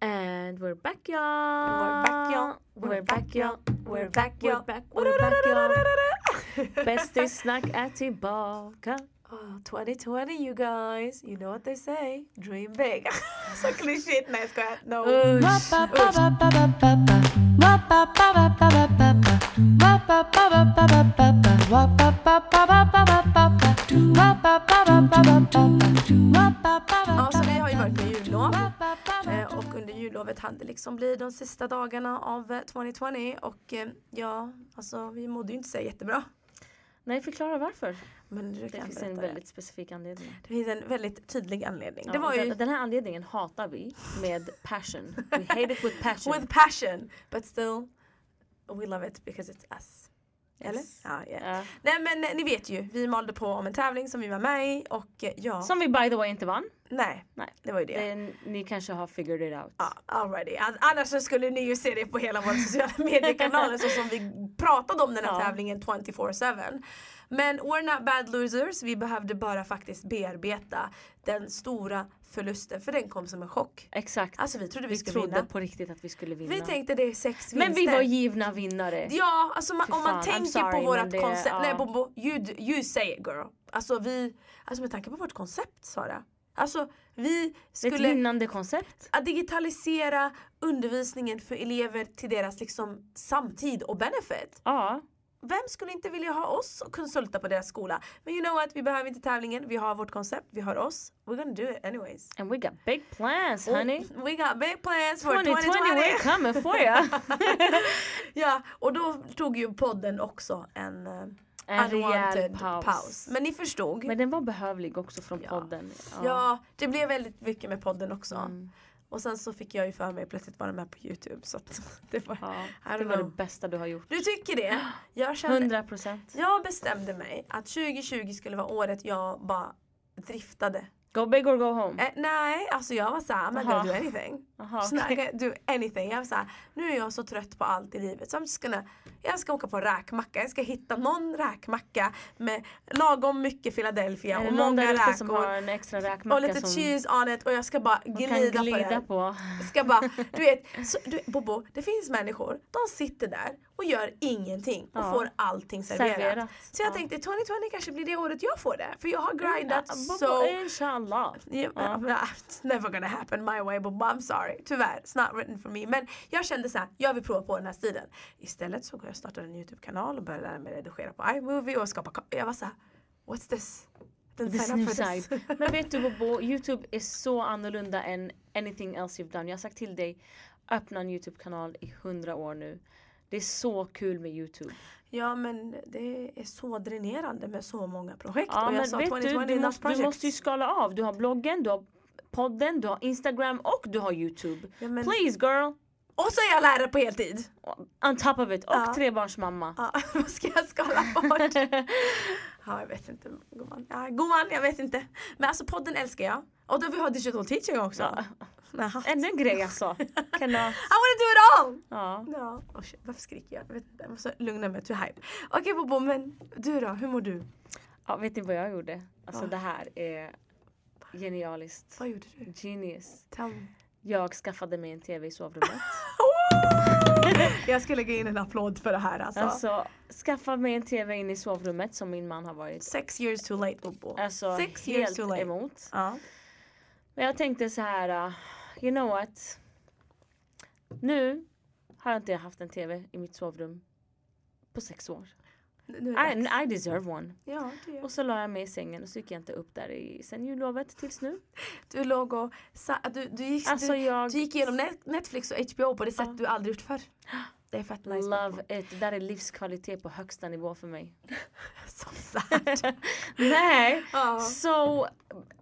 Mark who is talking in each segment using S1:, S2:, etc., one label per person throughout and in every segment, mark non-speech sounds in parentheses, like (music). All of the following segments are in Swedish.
S1: And we're back y'all!
S2: We're back, y'all.
S1: Ah, We're back y'all! We're back y'all!
S2: We're back,
S1: We're back y'all!
S2: y'all.
S1: Bästissnack är tillbaka!
S2: Oh, 2020 you guys, you know what they say, dream big. (laughs) Så klyschigt, nej jag skojar. No.
S1: Usch!
S2: Ja, så vi har ju varit på jullov. Eh, Och under jullovet hann det liksom bli de sista dagarna av eh, 2020 och eh, ja, alltså vi mådde ju inte så jättebra.
S1: Nej, förklara varför.
S2: Men du
S1: Det
S2: kan
S1: finns
S2: berätta
S1: en
S2: det.
S1: väldigt specifik anledning.
S2: det finns en väldigt tydlig anledning.
S1: Ja,
S2: det var
S1: och
S2: ju
S1: den, den här anledningen hatar vi med passion. We hate it with passion.
S2: with passion but still we love it because it's us. Eller?
S1: Yes.
S2: Ja,
S1: (laughs)
S2: yeah.
S1: Ja.
S2: Nej men eh, ni vet ju, vi malde på om en tävling som vi var med i och eh, ja,
S1: Som vi by the way inte vann.
S2: nej,
S1: Nej.
S2: det var ju det.
S1: Den, ni kanske har figured it out.
S2: Ja, already. An- Annars så skulle ni ju se det på hela våra sociala (laughs) mediekanaler så som vi pratade om den här
S1: Ja.
S2: tävlingen 24-7. Men we're not bad losers, vi behövde bara faktiskt bearbeta den stora förlusten för den kom som en chock.
S1: Exakt.
S2: Alltså vi trodde vi,
S1: vi
S2: skulle
S1: trodde
S2: vinna.
S1: på riktigt att vi skulle vinna.
S2: Vi tänkte det är sex vinster.
S1: men vi var givna vinnare.
S2: Ja, alltså man,
S1: Fy
S2: om man
S1: fan, I'm
S2: tänker
S1: sorry,
S2: på
S1: men
S2: vårt
S1: det-
S2: koncept.
S1: ja.
S2: Nej Bobo, you, d- you say it girl. Alltså vi, alltså med tanke på vårt koncept Sara. Alltså vi
S1: Det är
S2: skulle
S1: Ett vinnande koncept.
S2: att digitalisera undervisningen för elever till deras liksom samtid och benefit.
S1: Ja.
S2: Vem skulle inte vilja ha oss och konsulta på deras skola? Men you know what, vi behöver inte tävlingen. Vi har vårt koncept, vi har oss. We're gonna do it anyways.
S1: And we got big plans honey.
S2: We got big plans for
S1: 2020
S2: (laughs)
S1: we're
S2: 2020!
S1: coming for ya.
S2: (laughs) ja, och då tog ju podden också en, eh,
S1: En rejäl
S2: unwanted
S1: paus.
S2: Men ni förstod.
S1: Men den var behövlig också från
S2: Ja.
S1: podden. Ja.
S2: Ja, det blev väldigt mycket med podden också.
S1: Mm.
S2: Och sen så fick jag ju för mig plötsligt vara med på Youtube så att (laughs) det var...
S1: Ja.
S2: I don't
S1: Det var det
S2: know.
S1: bästa du har gjort.
S2: Du tycker det? Jag känner
S1: 100 procent.
S2: Jag bestämde mig att 2020 skulle vara året jag bara driftade.
S1: Go big or go home.
S2: Eh, nej, alltså jag var såhär, I'm not
S1: Jaha.
S2: gonna do anything.
S1: Aha,
S2: I'm not
S1: okej.
S2: gonna do anything. Jag var såhär, nu är jag så trött på allt i livet så I'm just gonna, jag ska åka på räkmacka. Jag ska hitta någon räkmacka med lagom mycket Philadelphia
S1: Är det
S2: och
S1: någon
S2: många
S1: där ute som
S2: räkor.
S1: har en extra
S2: Och
S1: räkmacka
S2: lite
S1: som
S2: cheese on it och jag ska bara
S1: man kan
S2: glida, på
S1: glida
S2: den.
S1: på?
S2: Ska bara, du vet, så, du, Bobo, det finns människor, de sitter där och gör ingenting och
S1: Ja.
S2: får allting serverat.
S1: Serverat,
S2: Så jag
S1: ja.
S2: tänkte 2020 kanske blir det året jag får det, för jag
S1: (laughs)
S2: har grindat
S1: Ja,
S2: så...
S1: Bobo, Inshallah.
S2: Yeah, (laughs)
S1: Ja.
S2: nah, It's never gonna happen my way, Bobo, I'm sorry. Tyvärr, it's not written for me. Men jag kände så här, jag vill prova på den här stilen. Istället så går jag och startar en YouTube-kanal och börjar lära mig redigera på iMovie och skapa... ko- Jag var så här, what's this? Den
S1: This new side. (laughs) Men vet du Bobo, Youtube är så annorlunda än anything else you've done. Jag har sagt till dig, öppna en Youtube-kanal i hundra år nu. Det är så kul med Youtube.
S2: (laughs) Ja men det är så dränerande med så många projekt.
S1: Ja,
S2: och jag
S1: men
S2: sa
S1: vet
S2: 2020
S1: du, du
S2: enough
S1: måste, du
S2: projects.
S1: måste ju skala av. Du har bloggen, du har podden, du har Instagram och du har Youtube.
S2: Ja, men-
S1: Please girl!
S2: Och så är jag lärare på heltid!
S1: On top of it. Och
S2: Ja.
S1: trebarnsmamma.
S2: Ja, (laughs) vad ska jag skala bort? ja, jag vet inte gumman. Ja, gumman, jag vet inte. Men alltså podden älskar jag. Och då vi har digital teaching också.
S1: (laughs) Ja.
S2: Naha.
S1: Ännu en grej alltså. Kan jag...
S2: I wanna do it all!
S1: ja.
S2: Ja. Oh, shit, varför skriker jag? Jag vet inte, jag måste lugna mig, too hype. Okej Bobo, men du då? Hur mår du?
S1: ja, vet ni vad jag gjorde? Alltså
S2: Ja.
S1: det här är genialiskt.
S2: Vad gjorde du?
S1: Genius.
S2: Tell (laughs) me.
S1: Jag skaffade mig en TV i
S2: (laughs)
S1: sovrummet.
S2: jag ska lägga in en applåd för det här alltså.
S1: Alltså, skaffa mig en TV in i sovrummet som min man har varit.
S2: Sex years too late Bobo.
S1: Alltså
S2: Sex years
S1: helt
S2: too late.
S1: emot.
S2: Ja.
S1: Men jag tänkte så här, ah, you know what? Nu har jag inte haft en TV i mitt sovrum på sex år.
S2: Nu är det dags.
S1: I, I deserve one.
S2: Ja, det gör jag.
S1: Och så la jag mig i sängen och så gick jag inte upp där i, sen jullovet tills nu.
S2: Du låg och sa, du, du, gick,
S1: Alltså
S2: du,
S1: jag
S2: du gick igenom Net- Netflix och HBO på det sätt
S1: Ja.
S2: du aldrig gjort förr. Det är fett nice.
S1: love it. Det där är livskvalitet på högsta nivå för
S2: (laughs)
S1: mig.
S2: Så (laughs) sad.
S1: Nej!
S2: Ja.
S1: Så,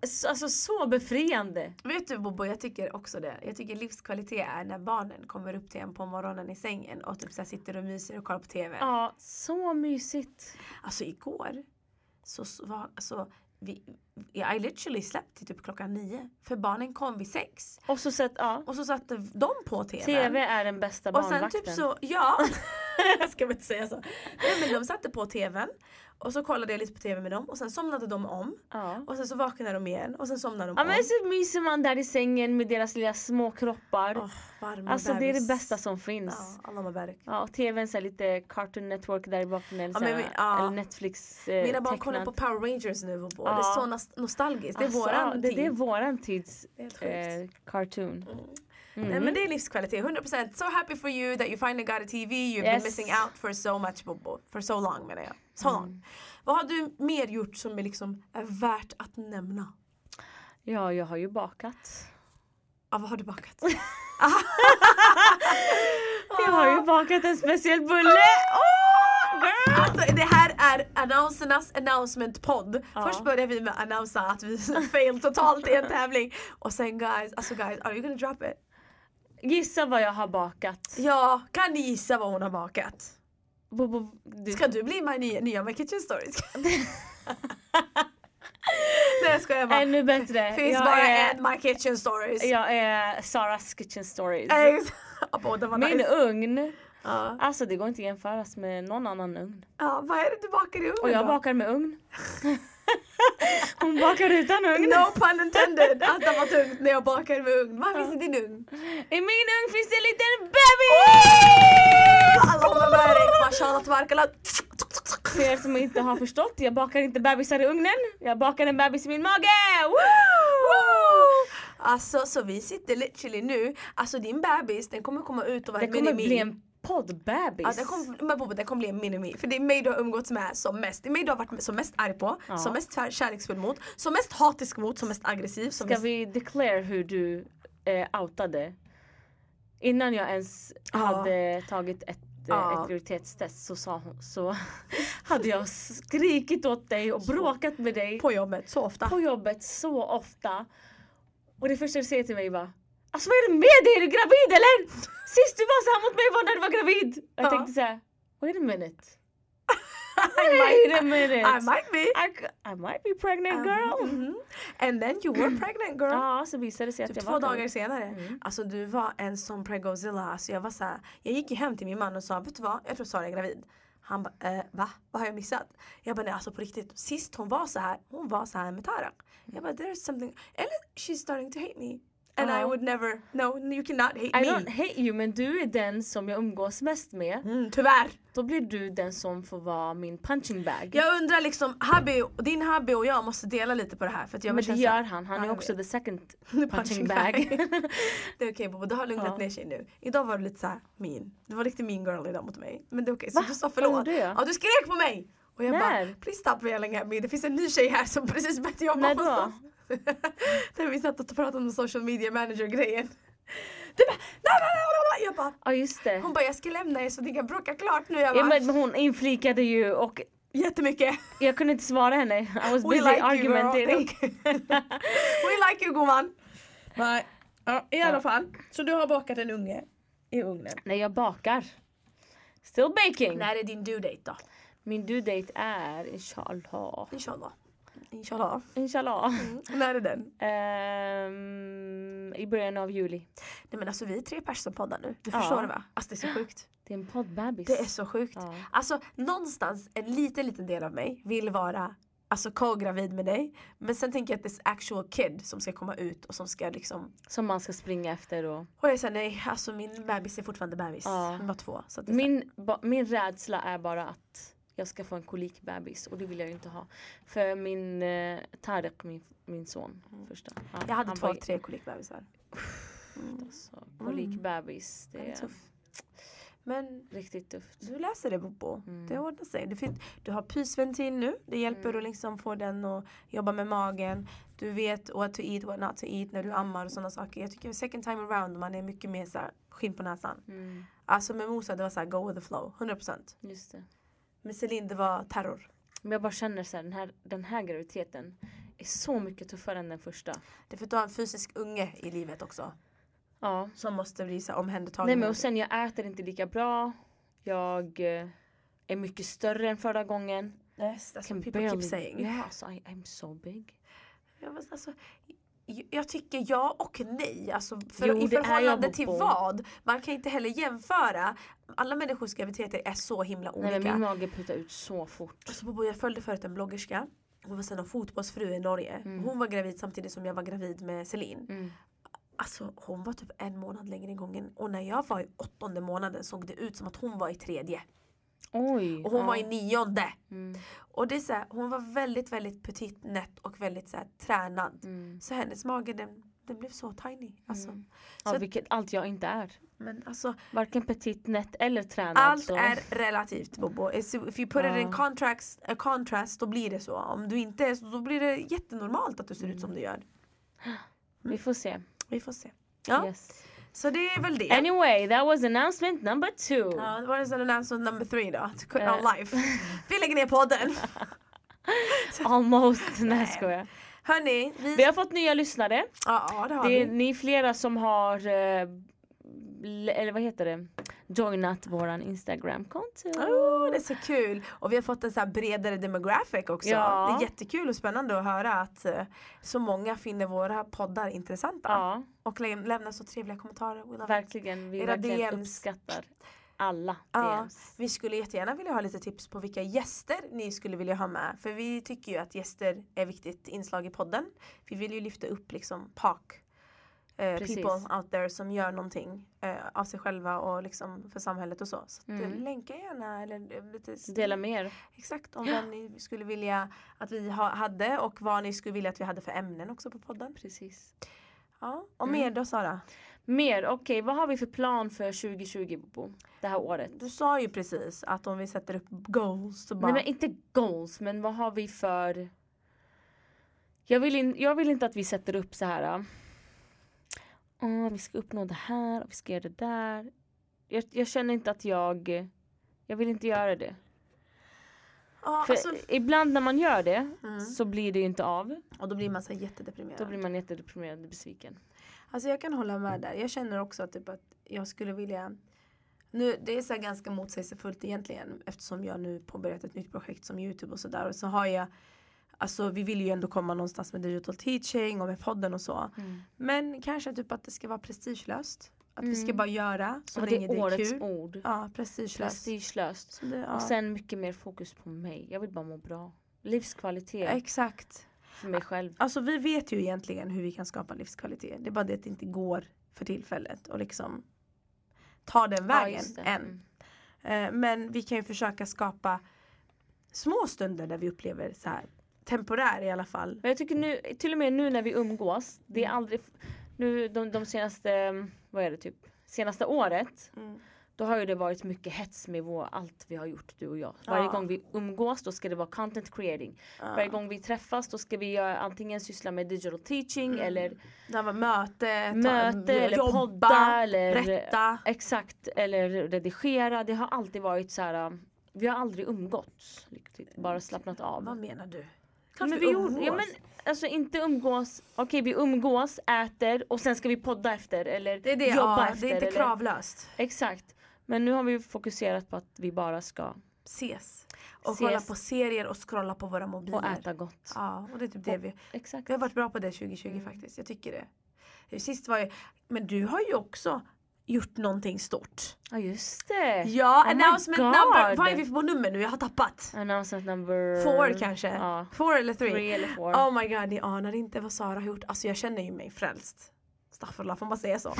S1: så, alltså så befriande.
S2: Vet du Bobo, jag tycker också det. Jag tycker livskvalitet är när barnen kommer upp till en på morgonen i sängen och typ så här sitter och myser och kollar på TV.
S1: Ja, så mysigt.
S2: Alltså igår så, så var, alltså, vi, I literally slept till typ klockan nio. För barnen kom vid sex.
S1: Och så sett, ja.
S2: Och så satte de på TVn.
S1: TV är den bästa
S2: Och sen (laughs)
S1: barnvakten.
S2: typ så, ja. jag ska väl inte säga så. Nej men de satte på tvn Och så kollade jag lite på tv med dem och sen somnade de om.
S1: Ja.
S2: Och sen så vaknade de igen och sen somnade de
S1: Ja
S2: om.
S1: men så myser man där i sängen med deras lilla små kroppar.
S2: Åh, varma
S1: alltså det är det
S2: bebis.
S1: bästa som finns.
S2: Ja, alla Mubarak.
S1: Ja, och tvn så här lite Cartoon Network där i bakgrunden eller, så
S2: Ja,
S1: här,
S2: men vi- ja.
S1: eller Netflix eh,
S2: Mina barn
S1: tecknad.
S2: kollar på Power Rangers nu och
S1: Ja.
S2: Det är så nos- nostalgiskt. Det är
S1: Alltså,
S2: våran
S1: det,
S2: tid.
S1: det är våran tids
S2: Det är helt sjukt. Mm.
S1: eh, cartoon.
S2: Nej,
S1: Mm.
S2: men det är livskvalitet, 100%. So happy for you that you finally got a TV. You've been
S1: Yes. Mm.
S2: missing out for so much, Bobo. For so long menar jag. So long. Vad har du mer gjort som är, liksom, är värt att nämna?
S1: Ja, jag har ju bakat.
S2: Ah, vad har du bakat?
S1: (laughs)
S2: Ah.
S1: Jag har ju bakat en speciell bulle!
S2: Alltså, det här är annonsernas announcement-podd.
S1: Ja.
S2: Först började vi med att annonsa att vi (laughs) failed totalt i en tävling. Och sen guys, alltså guys, are you gonna drop it?
S1: Gissa vad jag har bakat.
S2: Ja, kan ni gissa vad hon har bakat?
S1: Bobo, du,
S2: Ska du bli min nya, nya My Kitchen Stories?
S1: (laughs)
S2: Nej jag skojar bara.
S1: ännu bättre.
S2: Finns
S1: jag,
S2: bara
S1: är,
S2: en My Kitchen Stories.
S1: jag är Saras eh, Kitchen Stories.
S2: Ex- (laughs) Ja, båda var
S1: Min
S2: nice.
S1: ugn,
S2: Ja.
S1: alltså det går inte att jämföras med någon annan ugn.
S2: Ja, vad är det du bakar i ugnen
S1: Och jag
S2: då?
S1: bakar med ugn. (laughs) Hon bakar utan ugn.
S2: No pun intended! Att det var tungt när jag bakar med ugn. Vad finns det i din ugn?
S1: I min ugn finns det en liten bebis!
S2: Allahumma barik, mashallah tabarakallah.
S1: För er som inte har förstått, jag bakar inte bebisar i ugnen. Jag bakar en bebis i min mage! Woo!
S2: Alltså så vi sitter literally nu, alltså din bebis den kommer komma ut och vara
S1: Det
S2: en
S1: kommer
S2: minimi.
S1: bli en poddbebis.
S2: Ja, den kommer, men Bobo, den kommer bli en minimi. För det är mig du har umgåtts med som mest. Det är mig du har varit som mest arg på,
S1: Ja.
S2: som mest kär- kärleksfull mot, som mest hatisk mot, som mest aggressiv. Som
S1: Ska
S2: mest...
S1: vi declare hur du eh, outade? Innan jag ens
S2: Ja.
S1: hade tagit ett,
S2: Ja.
S1: eh, ett graviditetstest så, sa hon, så (laughs) hade jag skrikit åt dig och bråkat med dig
S2: På jobbet, så ofta.
S1: på jobbet så ofta. Och det första du säger till mig var Alltså vad är det med dig? Är du gravid
S2: (laughs)
S1: eller? Sist du var så här mot mig var när du var gravid. Jag
S2: Ja.
S1: tänkte så här, wait a
S2: (laughs)
S1: minute.
S2: I
S1: Wait a
S2: might,
S1: minute.
S2: I might be.
S1: I, c- I might be pregnant girl.
S2: Mhm. And then you were pregnant girl.
S1: Ja, så visade det sig att
S2: Typ
S1: jag
S2: två
S1: var Mm.
S2: dagar
S1: gravid.
S2: senare. Alltså du var en sån pregozilla. Alltså jag var så här, jag gick ju hem till min man och sa, vet du vad? Jag tror Sara är gravid. Han bara, eh, va? Vad har jag missat? Jag bara, nej alltså på riktigt. Sist hon var så här, hon var så här med Tarak. Jag bara, there's something. Eller she's starting to hate me. And
S1: Ja.
S2: I would never, no you cannot hate
S1: I
S2: me.
S1: don't hate you men du är den som jag umgås mest med.
S2: Mm, tyvärr.
S1: Då blir du den som får vara min punching bag.
S2: Jag undrar liksom, hubby, din hubby och jag måste dela lite på det här. För att jag
S1: men
S2: känner
S1: det
S2: så här-
S1: gör han, han
S2: Ja,
S1: är
S2: jag
S1: också
S2: vet.
S1: the
S2: (laughs)
S1: second
S2: Punching
S1: punching bag. (laughs)
S2: Det är okej Bobo, du har lugnat
S1: Ja.
S2: ner sig nu. Idag var du lite såhär mean. Du var riktigt mean girl idag mot mig. Men det är okej,
S1: Va?
S2: så du sa
S1: Vad
S2: förlåt.
S1: gjorde jag?
S2: Ja, du skrek på mig! Och jag bara,
S1: När?
S2: please stop yelling at me. Det finns en ny tjej här som precis börjat jobba
S1: När
S2: hos
S1: då?
S2: oss. (laughs) När vi satt och pratade om social media manager grejen. Du bara, nej, nej, nej, nej. Jag bara,
S1: Ja just det.
S2: hon bara, jag ska lämna er så ni kan bråka klart nu. Jag
S1: Ja,
S2: bara,
S1: men hon inflikade ju och
S2: jättemycket.
S1: jag kunde inte svara henne. I was
S2: We
S1: busy
S2: like you
S1: argumentating.
S2: girl. We like you gumman. Nej, ja, i alla fall. Så du har bakat en unge i ugnen.
S1: (laughs) Nej jag bakar. Still baking.
S2: När är din due date då?
S1: Min due date är inshallah.
S2: Inshallah. Inshallah.
S1: Inshallah.
S2: När är den?
S1: Ehm, I början av juli.
S2: Nej men alltså vi är tre personer som poddar nu. Du
S1: Ja.
S2: förstår det va? Alltså det är så sjukt.
S1: Det är en poddbebis.
S2: Det är så sjukt.
S1: Ja.
S2: Alltså någonstans en liten liten del av mig vill vara Alltså co-gravid med dig. Men sen tänker jag att det är actual kid som ska komma ut och som ska liksom.
S1: Som man ska springa efter och
S2: Och jag säger nej, alltså min bebis är fortfarande bebis.
S1: Ja.
S2: Hon var två. Så att det är så här-
S1: Min, ba- min rädsla är bara att jag ska få en kolikbebis och det vill jag ju inte ha. För min eh, Tarek, min, min son, första. Ja,
S2: Mm. Jag hade
S1: han
S2: två,
S1: var ju-
S2: tre kolikbebisar.
S1: Alltså, kolikbebis,
S2: Den
S1: det
S2: är
S1: är
S2: tuff. Men
S1: riktigt tufft.
S2: du läser det Bobo.
S1: Mm.
S2: Det ordnar sig. Du, fin- du har pysventil nu. Det hjälper att liksom få den att jobba med magen. Du vet what to eat, what not to eat när du ammar och sådana saker. Jag tycker second time around man är mycket mer så här, skinn på näsan.
S1: Mm,
S2: Alltså med Mosa det var så här, go with the flow. 100%.
S1: just det.
S2: Med Celine det var terror.
S1: Men jag bara känner så här, den här, den här graviditeten är så mycket tuffare än den första.
S2: Det är för att du har en fysisk unge i livet också.
S1: Ja.
S2: Som måste bli så här, omhändertagen.
S1: Nej men och sen jag äter inte lika bra. Jag eh, är mycket större än förra gången.
S2: Alltså, yes, that's what people keep saying.
S1: Yes, I, I'm alltså, so big.
S2: Jag, var, så- alltså, j- jag tycker ja och nej. Alltså för,
S1: Jo,
S2: I
S1: det är jag,
S2: förhållande till
S1: Bobo.
S2: vad? Man kan inte heller jämföra. Alla människors graviditeter är så himla olika.
S1: Nej, men min mage putar ut så fort.
S2: Alltså Bobo, jag följde förut en bloggerska. Hon var sen en fotbollsfru i Norge.
S1: Mm.
S2: Hon var gravid samtidigt som jag var gravid med Celine.
S1: Mm.
S2: Alltså hon var typ en månad längre i gången. Och när jag var i åttonde månaden såg det ut som att hon var i tredje.
S1: Oj.
S2: Och hon
S1: ja.
S2: var i nionde.
S1: Mm,
S2: Och det är så här, hon var väldigt väldigt petit, nätt och väldigt så här, tränad.
S1: mm.
S2: Så hennes mage den, den blev så tiny. Alltså.
S1: Mm.
S2: Så
S1: Ja,
S2: att-
S1: vilket allt jag inte är.
S2: Men alltså
S1: Varken petit, nätt eller tränad.
S2: allt
S1: så.
S2: är relativt Bobo. If you put it in
S1: alltså- Ja.
S2: contrast, a contrast då blir det så. Om du inte är så då blir det jättenormalt att du ser ut som du gör.
S1: Mm. Vi får se.
S2: Vi får se. Mm. Ja,
S1: Yes.
S2: så det är väl det.
S1: Anyway, that was announcement number two.
S2: Ja, det var en sån announcement number three då. To quit
S1: Eh.
S2: on life. Vi lägger ner podden.
S1: (laughs) Almost. Nej,
S2: Nej.
S1: jag skojar.
S2: Hörni, vi...
S1: Vi har fått nya lyssnare.
S2: Ja, ja, det har
S1: Det är
S2: vi.
S1: ni är flera som har eh, l- eller vad heter det? Joinat våran Instagram-konto.
S2: Oh, det är så kul. Och vi har fått en så här bredare demographic också.
S1: Ja.
S2: Det är jättekul och spännande att höra att eh, så många finner våra poddar intressanta.
S1: Ja,
S2: Och lä- lämnar så trevliga kommentarer. We love it.
S1: verkligen. Vi
S2: Era
S1: verkligen
S2: DMs.
S1: uppskattar alla
S2: Ja.
S1: DMs.
S2: Vi skulle jättegärna vilja ha lite tips på vilka gäster ni skulle vilja ha med. För vi tycker ju att gäster är viktigt inslag i podden. Vi vill ju lyfta upp liksom PAK. Eh,
S1: Precis.
S2: people out there som gör någonting eh, av sig själva och liksom för samhället och så. Så att, eh,
S1: Mm.
S2: länka gärna eller eh, lite
S1: Dela med er.
S2: exakt om vem ni skulle vilja att vi ha, hade och vad ni skulle vilja att vi hade för ämnen också på podden.
S1: Precis.
S2: Ja. Och
S1: Mm.
S2: mer då Sara?
S1: Mer, okej vad har vi för plan för 2020 Bobo? Det här året?
S2: Du sa ju precis att om vi sätter upp goals så bara
S1: Nej men inte goals men vad har vi för Jag vill, in, jag vill inte att vi sätter upp så här. äh, "Åh, vi ska uppnå det här och vi ska göra det där. Jag, jag känner inte att jag Jag vill inte göra det.
S2: Ja,
S1: För
S2: alltså,
S1: ibland när man gör det
S2: Mm.
S1: så blir det ju inte av.
S2: och då blir man så här jättedeprimerad.
S1: Då blir man Mm. jättedeprimerad och besviken.
S2: Alltså jag kan hålla med där. Jag känner också typ att jag skulle vilja nu, det är så här ganska motsägelsefullt egentligen eftersom jag nu påbörjat ett nytt projekt som Youtube och sådär. Och så har jag, alltså vi vill ju ändå komma någonstans med digital teaching och med podden och så.
S1: Mm.
S2: Men kanske typ att det ska vara prestigelöst. Att vi ska
S1: Mm.
S2: bara göra så
S1: Och det
S2: länge
S1: är årets
S2: kul.
S1: ord.
S2: Ja, prestigelöst.
S1: Prestigelöst.
S2: Så det, ja.
S1: Och sen mycket mer fokus på mig. Jag vill bara må bra. Livskvalitet
S2: Exakt.
S1: för mig själv.
S2: Alltså vi vet ju egentligen hur vi kan skapa livskvalitet. Det är bara det att det inte går för tillfället och liksom ta den
S1: Ja,
S2: vägen
S1: just det.
S2: än.
S1: Mm.
S2: Eh, Men vi kan ju försöka skapa små stunder där vi upplever så här temporär i alla fall.
S1: Men jag tycker nu, till och med nu när vi umgås, det är
S2: Mm.
S1: aldrig, nu de, de senaste, vad är det typ, senaste året,
S2: Mm.
S1: då har ju det varit mycket hets med vår, allt vi har gjort du och jag. Varje
S2: Ja.
S1: gång vi umgås då ska det vara content creating.
S2: Ja.
S1: Varje gång vi träffas då ska vi göra, antingen syssla med digital teaching
S2: Mm.
S1: eller
S2: Det här var möte, ta-
S1: möte eller
S2: jobba,
S1: podda eller
S2: rätta.
S1: exakt eller redigera. Det har alltid varit så här. um, Vi har aldrig umgåtts riktigt, bara slappnat av.
S2: Vad menar du?
S1: Ja, men vi gjorde, ja, men, alltså inte umgås, okej vi umgås, äter och sen ska vi podda efter eller
S2: det är det,
S1: jobba
S2: ja,
S1: efter.
S2: det är inte
S1: eller-
S2: kravlöst.
S1: Exakt. Men nu har vi ju fokuserat på att vi bara ska
S2: Ses. Och
S1: Ses.
S2: kolla på serier och scrolla på våra mobiler.
S1: och äta gott.
S2: Ja, och det är typ det vi...
S1: Exakt.
S2: Vi har varit bra på det 2020
S1: Mm.
S2: faktiskt, jag tycker det. Sist var ju... Men du har ju också gjort någonting stort.
S1: Ja just det.
S2: Ja,
S1: Oh my
S2: announcement
S1: God.
S2: number. Vad är vi på nummer nu? Jag har tappat.
S1: Announcement number...
S2: Four kanske?
S1: Mm. Ja.
S2: Four eller three?
S1: Three eller four.
S2: Oh my god, ni anar inte vad Sara har gjort. Alltså jag känner ju mig frälst. Staffurla, får man
S1: (laughs)
S2: säga så?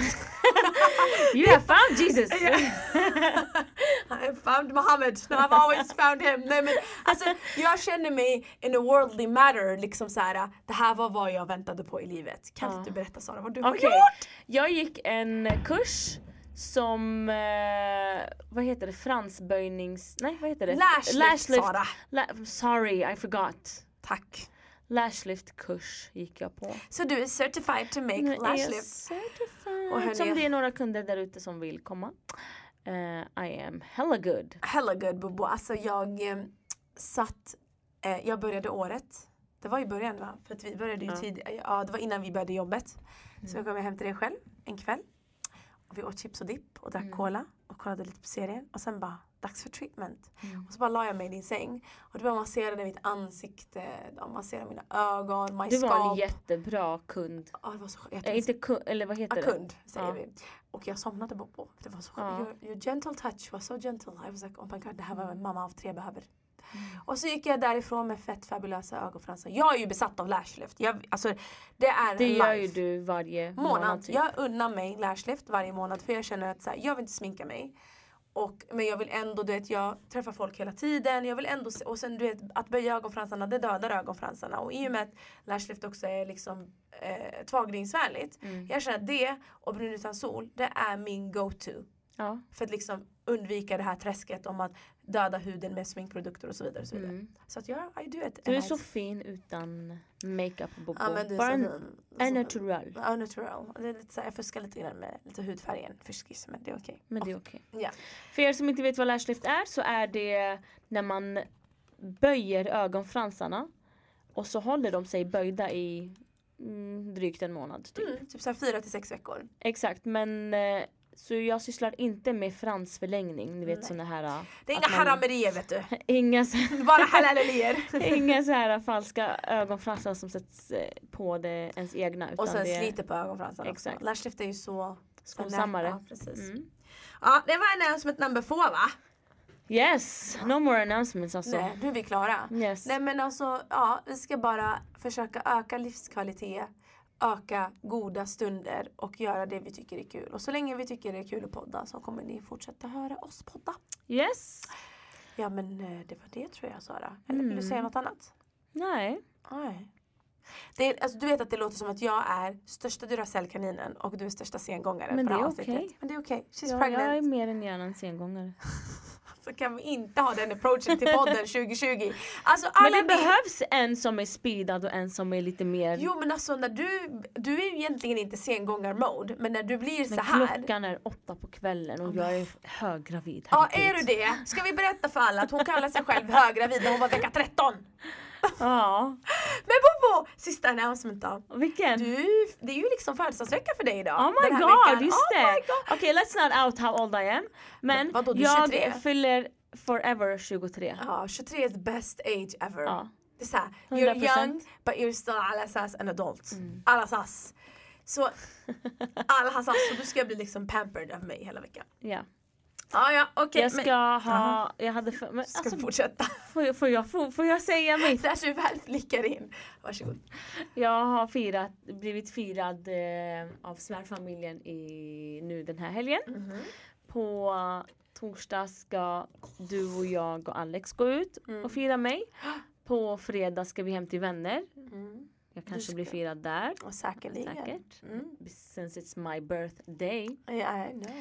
S1: You have found Jesus!
S2: (laughs) I found Muhammad, No, I've always found him. Nej, men, alltså, jag känner mig in a worldly matter, liksom så här. det här var vad jag väntade på i livet. Kan
S1: Ja.
S2: inte du berätta Sara vad du har
S1: Okej.
S2: gjort?
S1: Jag gick en kurs som, eh, vad heter det, fransböjnings... Nej vad heter det?
S2: Lashlift, Sara.
S1: La- sorry, I forgot.
S2: Tack.
S1: Lashlift-kurs gick jag på.
S2: Så du är certified to make
S1: Nu är jag
S2: lashlift.
S1: certified.
S2: Och hörni-
S1: Som det är några kunder där ute som vill komma. Eh, I am hella good.
S2: Hella good Bobo. Alltså jag eh, satt, eh, jag började året. Det var i början va? För att vi började ju
S1: Ja. Mm.
S2: tidigt. Ja, det var innan vi började jobbet. Så jag kom hem till dig
S1: Mm.
S2: själv en kväll. Och vi åt chips och dipp och drack cola och kollade lite på serien. Och sen bara, dags för treatment.
S1: Mm.
S2: Och så bara la jag mig i din säng. Och du bara masserade mitt ansikte, de masserade mina ögon, my
S1: Du var en
S2: scalp.
S1: jättebra kund.
S2: Ja, det var så skönt.
S1: Eh,
S2: Jag
S1: inte kund, eller vad heter
S2: A
S1: det?
S2: kund, säger
S1: Ja.
S2: vi. Och jag somnade bara på. Det var så skönt.
S1: Ja. Mm.
S2: Your, your gentle touch was so gentle. I was like, oh my god, det här var vad mamma av tre behöver. Och så gick jag därifrån med fett fabulösa ögonfransar. Jag är ju besatt av lash lift. Jag, alltså, det är
S1: Det gör ju
S2: life.
S1: du varje månad.
S2: Månad.
S1: typ.
S2: Jag unnar mig lash lift varje månad för jag känner att så här, jag vill inte sminka mig. Och, men jag vill ändå, du vet jag träffar folk hela tiden. Jag vill ändå, se- och sen du vet att böja ögonfransarna det dödar ögonfransarna. Och i och med att lash lift också är liksom eh, tvagningsvänligt.
S1: Mm.
S2: Jag känner att det och brun utan sol, det är min go-to.
S1: Ja.
S2: För att liksom undvika det här träsket om att döda huden med sminkprodukter och så vidare. Och så vidare.
S1: Mm.
S2: så att jag, I do it.
S1: Du är
S2: And I-
S1: så fin utan makeup och bobo.
S2: Ja men du är
S1: Bara
S2: så
S1: en,
S2: fin.
S1: en
S2: Så fin.
S1: natural.
S2: Ja, natural. Det är lite så här, jag fuskar lite grann med lite hudfärgen, fuskis, men det är okej.
S1: Men det är okej.
S2: Ja.
S1: För er som inte vet vad lashlift är så är det när man böjer ögonfransarna och så håller de sig böjda i mm, drygt en månad. Typ.
S2: Mm, typ så här fyra till sex veckor.
S1: Exakt men eh, så jag sysslar inte med fransförlängning. Ni vet
S2: Nej.
S1: såna här. eh,
S2: Det är
S1: att
S2: inga haramerier vet du.
S1: Inga, så-
S2: Bara
S1: (laughs)
S2: halalelier.
S1: inga så här falska ögonfransar som sätts eh, på det, ens egna. Utan
S2: (laughs) och sen
S1: det är
S2: sliter på ögonfransarna
S1: Exakt.
S2: också. Lashlift är ju så...
S1: skonsammare.
S2: Ja, precis.
S1: Mm.
S2: Ja, det var en announcement number four va?
S1: Yes! No more announcements alltså.
S2: Nej, nu är vi klara.
S1: Yes.
S2: Nej men alltså, ja, vi ska bara försöka öka livskvalitet, öka goda stunder och göra det vi tycker är kul. Och så länge vi tycker det är kul att podda så kommer ni fortsätta höra oss podda.
S1: Yes!
S2: Ja men eh, det var det tror jag Sara. Eller vill du
S1: Mm.
S2: säga något annat?
S1: Nej.
S2: Nej. Det är, alltså, du vet att det låter som att jag är största Duracellkaninen och du är största sengångaren
S1: Men
S2: på det här
S1: det är
S2: avsnittet.
S1: okej.
S2: Men det är okej. She's
S1: Ja,
S2: pregnant.
S1: jag är mer än gärna en sengångare.
S2: Så kan vi inte ha den approachen till podden (laughs) 2020. Alltså alla
S1: Men det
S2: vill-
S1: behövs en som är speedad och en som är lite mer...
S2: Jo men alltså när du, du är ju egentligen inte sengångar-mode men när du blir så
S1: men
S2: här.
S1: klockan är åtta på kvällen och jag är höggravid.
S2: Ja är
S1: herregud.
S2: du det? Ska vi berätta för alla att hon kallar sig själv höggravid när hon var vecka 13?
S1: Ja.
S2: Men Bobo! Sista announcement då.
S1: Vilken?
S2: Du, det är ju liksom födelsedagsvecka för dig idag.
S1: Oh my
S2: den här
S1: god,
S2: veckan.
S1: just
S2: Oh my
S1: det!
S2: god.
S1: Okej, let's not out how old I am. Men
S2: Vadå, du är
S1: jag
S2: 23?
S1: fyller forever 23.
S2: Ja, 23 is the best age ever.
S1: Ja.
S2: Det är såhär, you're
S1: 100%. Mm.
S2: young but you're still alasas an adult. Alasas. Så alasas, så du ska bli liksom pampered av mig hela veckan.
S1: ja.
S2: Ja, ja, okej.
S1: Jag ska
S2: men,
S1: ha... Jag hade för, men,
S2: ska
S1: alltså,
S2: fortsätta.
S1: får, jag- får, jag, får, får jag säga mitt?
S2: (laughs) När du väl blickar in. Varsågod.
S1: Jag har firat, blivit firad eh, av svärfamiljen i, nu den här helgen.
S2: Mhm.
S1: På torsdag ska du och jag och Alex gå ut
S2: Mm.
S1: och fira mig. På fredag ska vi hem till vänner.
S2: Mm.
S1: Jag kanske
S2: ska-
S1: blir firad där.
S2: Och säkerligen.
S1: Säkert.
S2: Mm.
S1: Since it's my birthday.
S2: Ja, I know.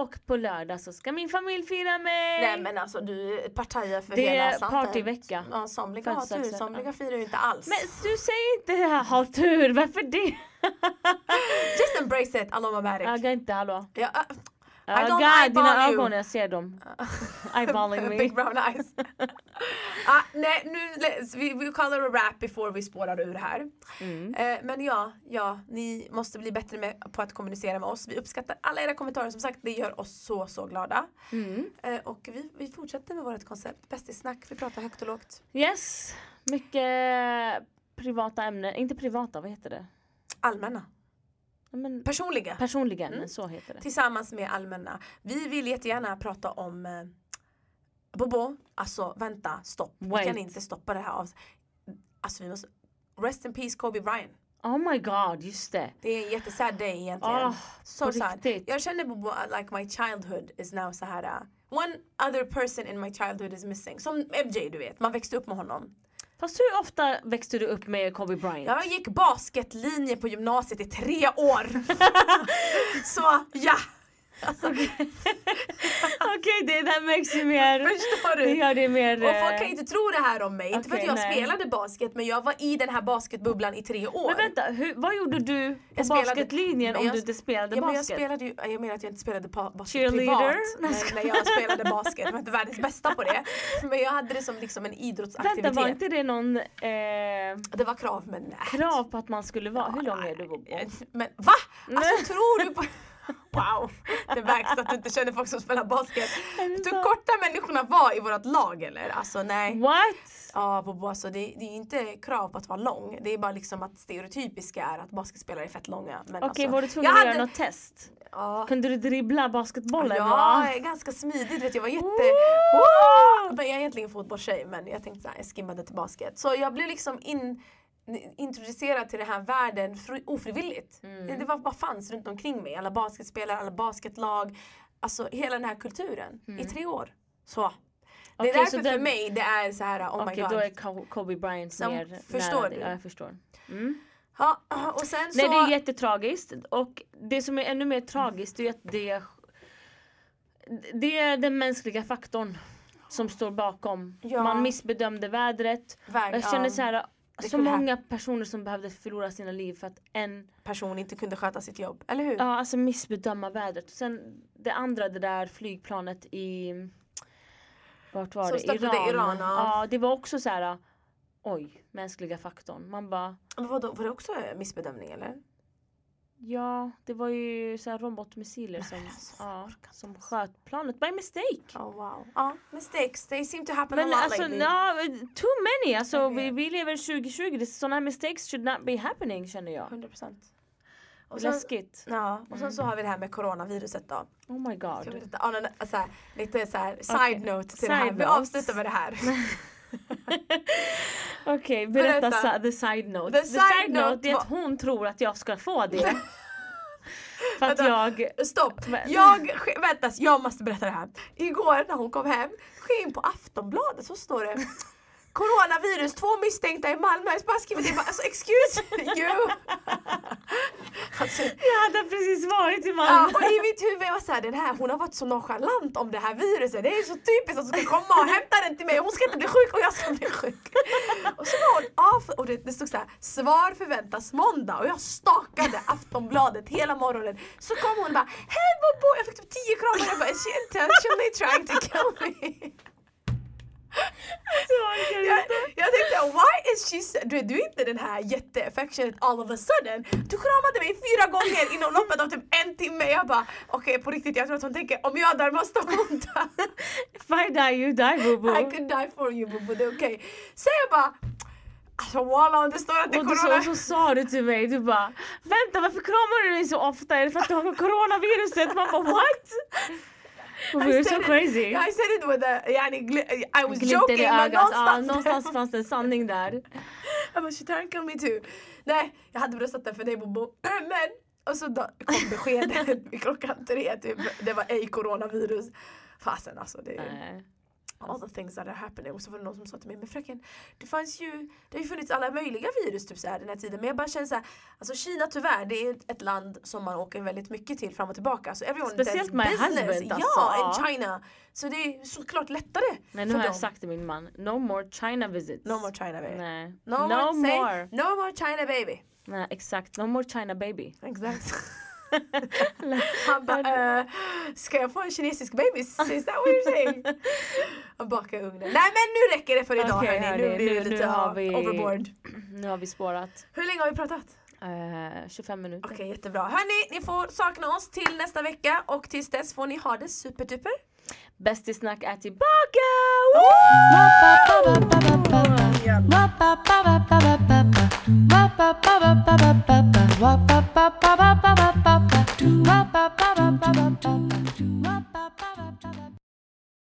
S1: Och på lördag så ska min familj fira mig!
S2: Nej men alltså du partajar för
S1: Det
S2: hela
S1: är
S2: slanten.
S1: partyvecka.
S2: Ja, somliga har tur,
S1: Födelsedagsvecka.
S2: somliga firar ju inte alls.
S1: Men du säger inte det här, ha tur, varför det?
S2: Just embrace it, Allah Mabarak.
S1: Öga inte, hallå.
S2: Ja, äh, don't
S1: Öga, dina
S2: eyeball you.
S1: ögon, jag ser dem. Eyeballing me.
S2: (laughs) Big brown (laughs) eyes. ah, nej, nu, let's- vi, vi kallar det rap before vi spårar ur här.
S1: Mm.
S2: Eh, men ja, ja, ni måste bli bättre med, på att kommunicera med oss. Vi uppskattar alla era kommentarer. Som sagt, det gör oss så, så glada.
S1: Mm.
S2: Eh, och vi, vi fortsätter med vårt koncept Bäst i snack. Vi pratar högt och lågt.
S1: Yes, mycket privata ämnen. Inte privata, vad heter det?
S2: Allmänna.
S1: Ja, Men
S2: Personliga.
S1: personliga ämnen,
S2: Mm.
S1: så heter det.
S2: Tillsammans med allmänna. Vi vill jättegärna prata om eh, Bobo, alltså vänta, stopp. Vi
S1: Wait.
S2: kan inte stoppa det här av. Alltså vi måste, rest in peace Kobe Bryant.
S1: Oh my god, just det.
S2: Det är en jättesad day egentligen.
S1: Ah, på
S2: så sad.
S1: riktigt.
S2: Jag känner Bobo, att, like my childhood is now så här. uh, One other person in my childhood is missing. Som MJ du vet, man växte upp med honom.
S1: Fast hur ofta växte du upp med Kobe Bryant?
S2: Jag gick basketlinje på gymnasiet i tre år.
S1: (laughs)
S2: (laughs) så ja,
S1: (laughs)
S2: Alltså,
S1: Okej, det där makes you mer...
S2: (laughs) förstår
S1: Det
S2: du?
S1: gör det mer...
S2: Och folk kan
S1: eh,
S2: ju inte tro det här om mig, inte för att
S1: Okej,
S2: jag
S1: nej.
S2: spelade basket men jag var i den här basketbubblan i tre år.
S1: Men vänta, hur, vad gjorde du på
S2: Jag spelade-
S1: basketlinjen
S2: men
S1: om
S2: jag-
S1: du inte spelade
S2: Ja, men jag,
S1: basket?
S2: spelade ju, jag menar att jag inte spelade pa- basket privat
S1: Cheerleader? Nej,
S2: när, när jag spelade basket, jag var inte världens bästa på det. Men jag hade det som liksom en idrottsaktivitet.
S1: Vänta, var inte det någon eh,
S2: Det var krav men nej. Eh,
S1: krav på att man skulle vara... Hur lång är du Bobo? (laughs)
S2: Men va? Alltså tror du på... Wow! Det märks att du inte känner folk som spelar basket.
S1: Är det
S2: Du
S1: så?
S2: korta människorna var i vårt lag eller? Alltså nej.
S1: What?
S2: Ja, Bobo, alltså det, det är inte krav på att vara lång. Det är bara liksom att stereotypiska är att basketspelare är fett långa. Men
S1: Okej,
S2: alltså,
S1: var du tvungen
S2: jag
S1: att
S2: hade-
S1: göra något test?
S2: ja.
S1: Kunde du dribbla basketbollen?
S2: Ja,
S1: va?
S2: jag är ganska smidig. Du vet, jag var jätte...
S1: Woo!
S2: Men jag är egentligen fotbollstjej men jag tänkte så här, jag skimmade till basket. Så jag blev liksom in, introducerad till den här världen fri, ofrivilligt.
S1: Mm.
S2: Det, det var bara fanns runt omkring mig. Alla basketspelare, alla basketlag. Alltså hela den här kulturen i tre år. Så. Det är
S1: Mm. Okej,
S2: därför
S1: så den-
S2: för mig det är så här oh
S1: Okej,
S2: my
S1: då
S2: god.
S1: är Ko- Kobe Bryant
S2: Som-
S1: mer
S2: förstår
S1: nära
S2: du?
S1: dig. Ja, jag förstår. Mm.
S2: Ja, och sen så...
S1: Nej, det är jättetragiskt. Och det som är ännu mer tragiskt är att det, det är den mänskliga faktorn som står bakom.
S2: Ja.
S1: Man missbedömde vädret.
S2: Väg,
S1: Jag känner
S2: ja,
S1: så här,
S2: det
S1: så
S2: skulle hä-
S1: många personer som behövde förlora sina liv för att en
S2: person inte kunde sköta sitt jobb, eller hur?
S1: Ja, alltså missbedöma vädret. Och sen det andra, det där flygplanet i... Vart var
S2: Som
S1: det?
S2: störtade
S1: Iran.
S2: Iran, ja.
S1: ja. det var också så här. Oj, mänskliga faktorn. Man bara,
S2: Men vadå, var det också missbedömning eller?
S1: ja, det var ju så här robotmissiler som,
S2: alltså,
S1: ja, som sköt planet by mistake.
S2: Oh wow. Ja, mistakes, they seem to happen
S1: Men
S2: a lot
S1: alltså,
S2: lately.
S1: ja, too many. Alltså,
S2: Jag
S1: vi,
S2: vet.
S1: vi lever 2020. Det- Sådana här mistakes should not be happening känner jag.
S2: 100%. Och sen,
S1: Läskigt.
S2: ja, och
S1: Mm.
S2: sen så har vi det här med coronaviruset då.
S1: Oh my
S2: Jag vet
S1: god.
S2: inte, ja, men, alltså, här, lite så här, side
S1: Okej.
S2: note till
S1: Side
S2: det här. Vi
S1: note.
S2: avslutar med det här.
S1: Okej, berätta,
S2: Berätta.
S1: sa- the side note.
S2: The
S1: The,
S2: side
S1: side,
S2: note
S1: note det är att hon tror att jag ska få
S2: (laughs)
S1: det. För att
S2: Vänta.
S1: jag...
S2: Stopp!
S1: Men-
S2: Jag, sk- vänta, jag måste berätta det här. Igår när hon kom hem, sker in på Aftonbladet så står det Coronavirus, två misstänkta i Malmö. Jag bara skriver det, bara, alltså excuse you! Alltså,
S1: Jag hade precis varit i
S2: Ja,
S1: Malmö. (laughs)
S2: och i mitt huvud jag var såhär, den här, hon har varit så nonchalant om det här viruset. Det är så typiskt att hon ska komma och hämta den till mig. Hon ska inte bli sjuk och jag ska bli sjuk. Och så var hon av och det, det stod såhär, svar förväntas måndag. Och jag stakade Aftonbladet hela morgonen. Så kom hon och bara, hej Bobo! Jag fick typ tio kramar. Jag bara, is she intentionally trying to kill me?
S1: Jag orkar
S2: Jag,
S1: inte.
S2: jag tänkte why is she so-" du, vet, du är inte den här jätteaffectionate all of a sudden. Du kramade mig fyra gånger inom loppet av typ en timme. Jag bara okej på riktigt jag tror att hon tänker om jag dör måste hon dö.
S1: If I die you die
S2: I
S1: bobo.
S2: could die for you Bobo, det är okej. Sen jag bara alltså walla om det står att det är
S1: Och du så,
S2: corona.
S1: och så sa du till mig, du bara Vänta varför kramar du mig så ofta? Är det för att du har coronaviruset? Man bara what? Bobo you're so crazy.
S2: I said it with a, yani, gl- I was
S1: Glimten
S2: joking
S1: i
S2: men
S1: ögat. Ja,
S2: någonstans,
S1: någonstans fanns det en sanning
S2: (laughs)
S1: där.
S2: Jag bara, she turned kill me too. Nej, jag hade bröstat den för dig Bobo. (clears throat) Men, och så då kom
S1: (laughs)
S2: beskedet vid klockan tre typ. Det var ej coronavirus. Fasen alltså. Det är
S1: Nej. alltså.
S2: all the things that are happening. Och så var det någon som sa till mig, men fröken, det fanns ju, det har ju funnits alla möjliga virus typ så här den här tiden. Men jag bara känner så här, alltså Kina tyvärr, det är ett land som man åker väldigt mycket till fram och tillbaka. Så everyone
S1: Speciellt
S2: does
S1: my
S2: business.
S1: husband,
S2: Ja,
S1: alltså.
S2: in China. Så det är såklart lättare
S1: Men nu
S2: för
S1: har
S2: dem.
S1: jag sagt till min man, no more China visits.
S2: No more China baby.
S1: Nej.
S2: No,
S1: No,
S2: more, say,
S1: more.
S2: no more China baby.
S1: Nej, exakt. No more China baby. (laughs)
S2: Exakt. (laughs) Han bara, eh, ska jag få en kinesisk bebis? Is that what you're saying? Och baka i ugnen. Nej men nu räcker det för idag
S1: Okej,
S2: hörni. Nu
S1: hörni,
S2: blir det
S1: nu-
S2: lite
S1: nu har
S2: av-
S1: vi-
S2: overboard.
S1: Nu har vi spårat
S2: Hur länge har vi pratat?
S1: eh, 25 minuter.
S2: Okej jättebra. Hörni, ni får sakna oss till nästa vecka och tills dess får ni ha det superduper.
S1: Bästisnack är tillbaka! Woo!
S3: Ba-ba-ba-ba-ba-ba-ba. Ba-ba-ba-ba-ba-ba-ba. Ba-ba-ba-ba-ba-ba-ba.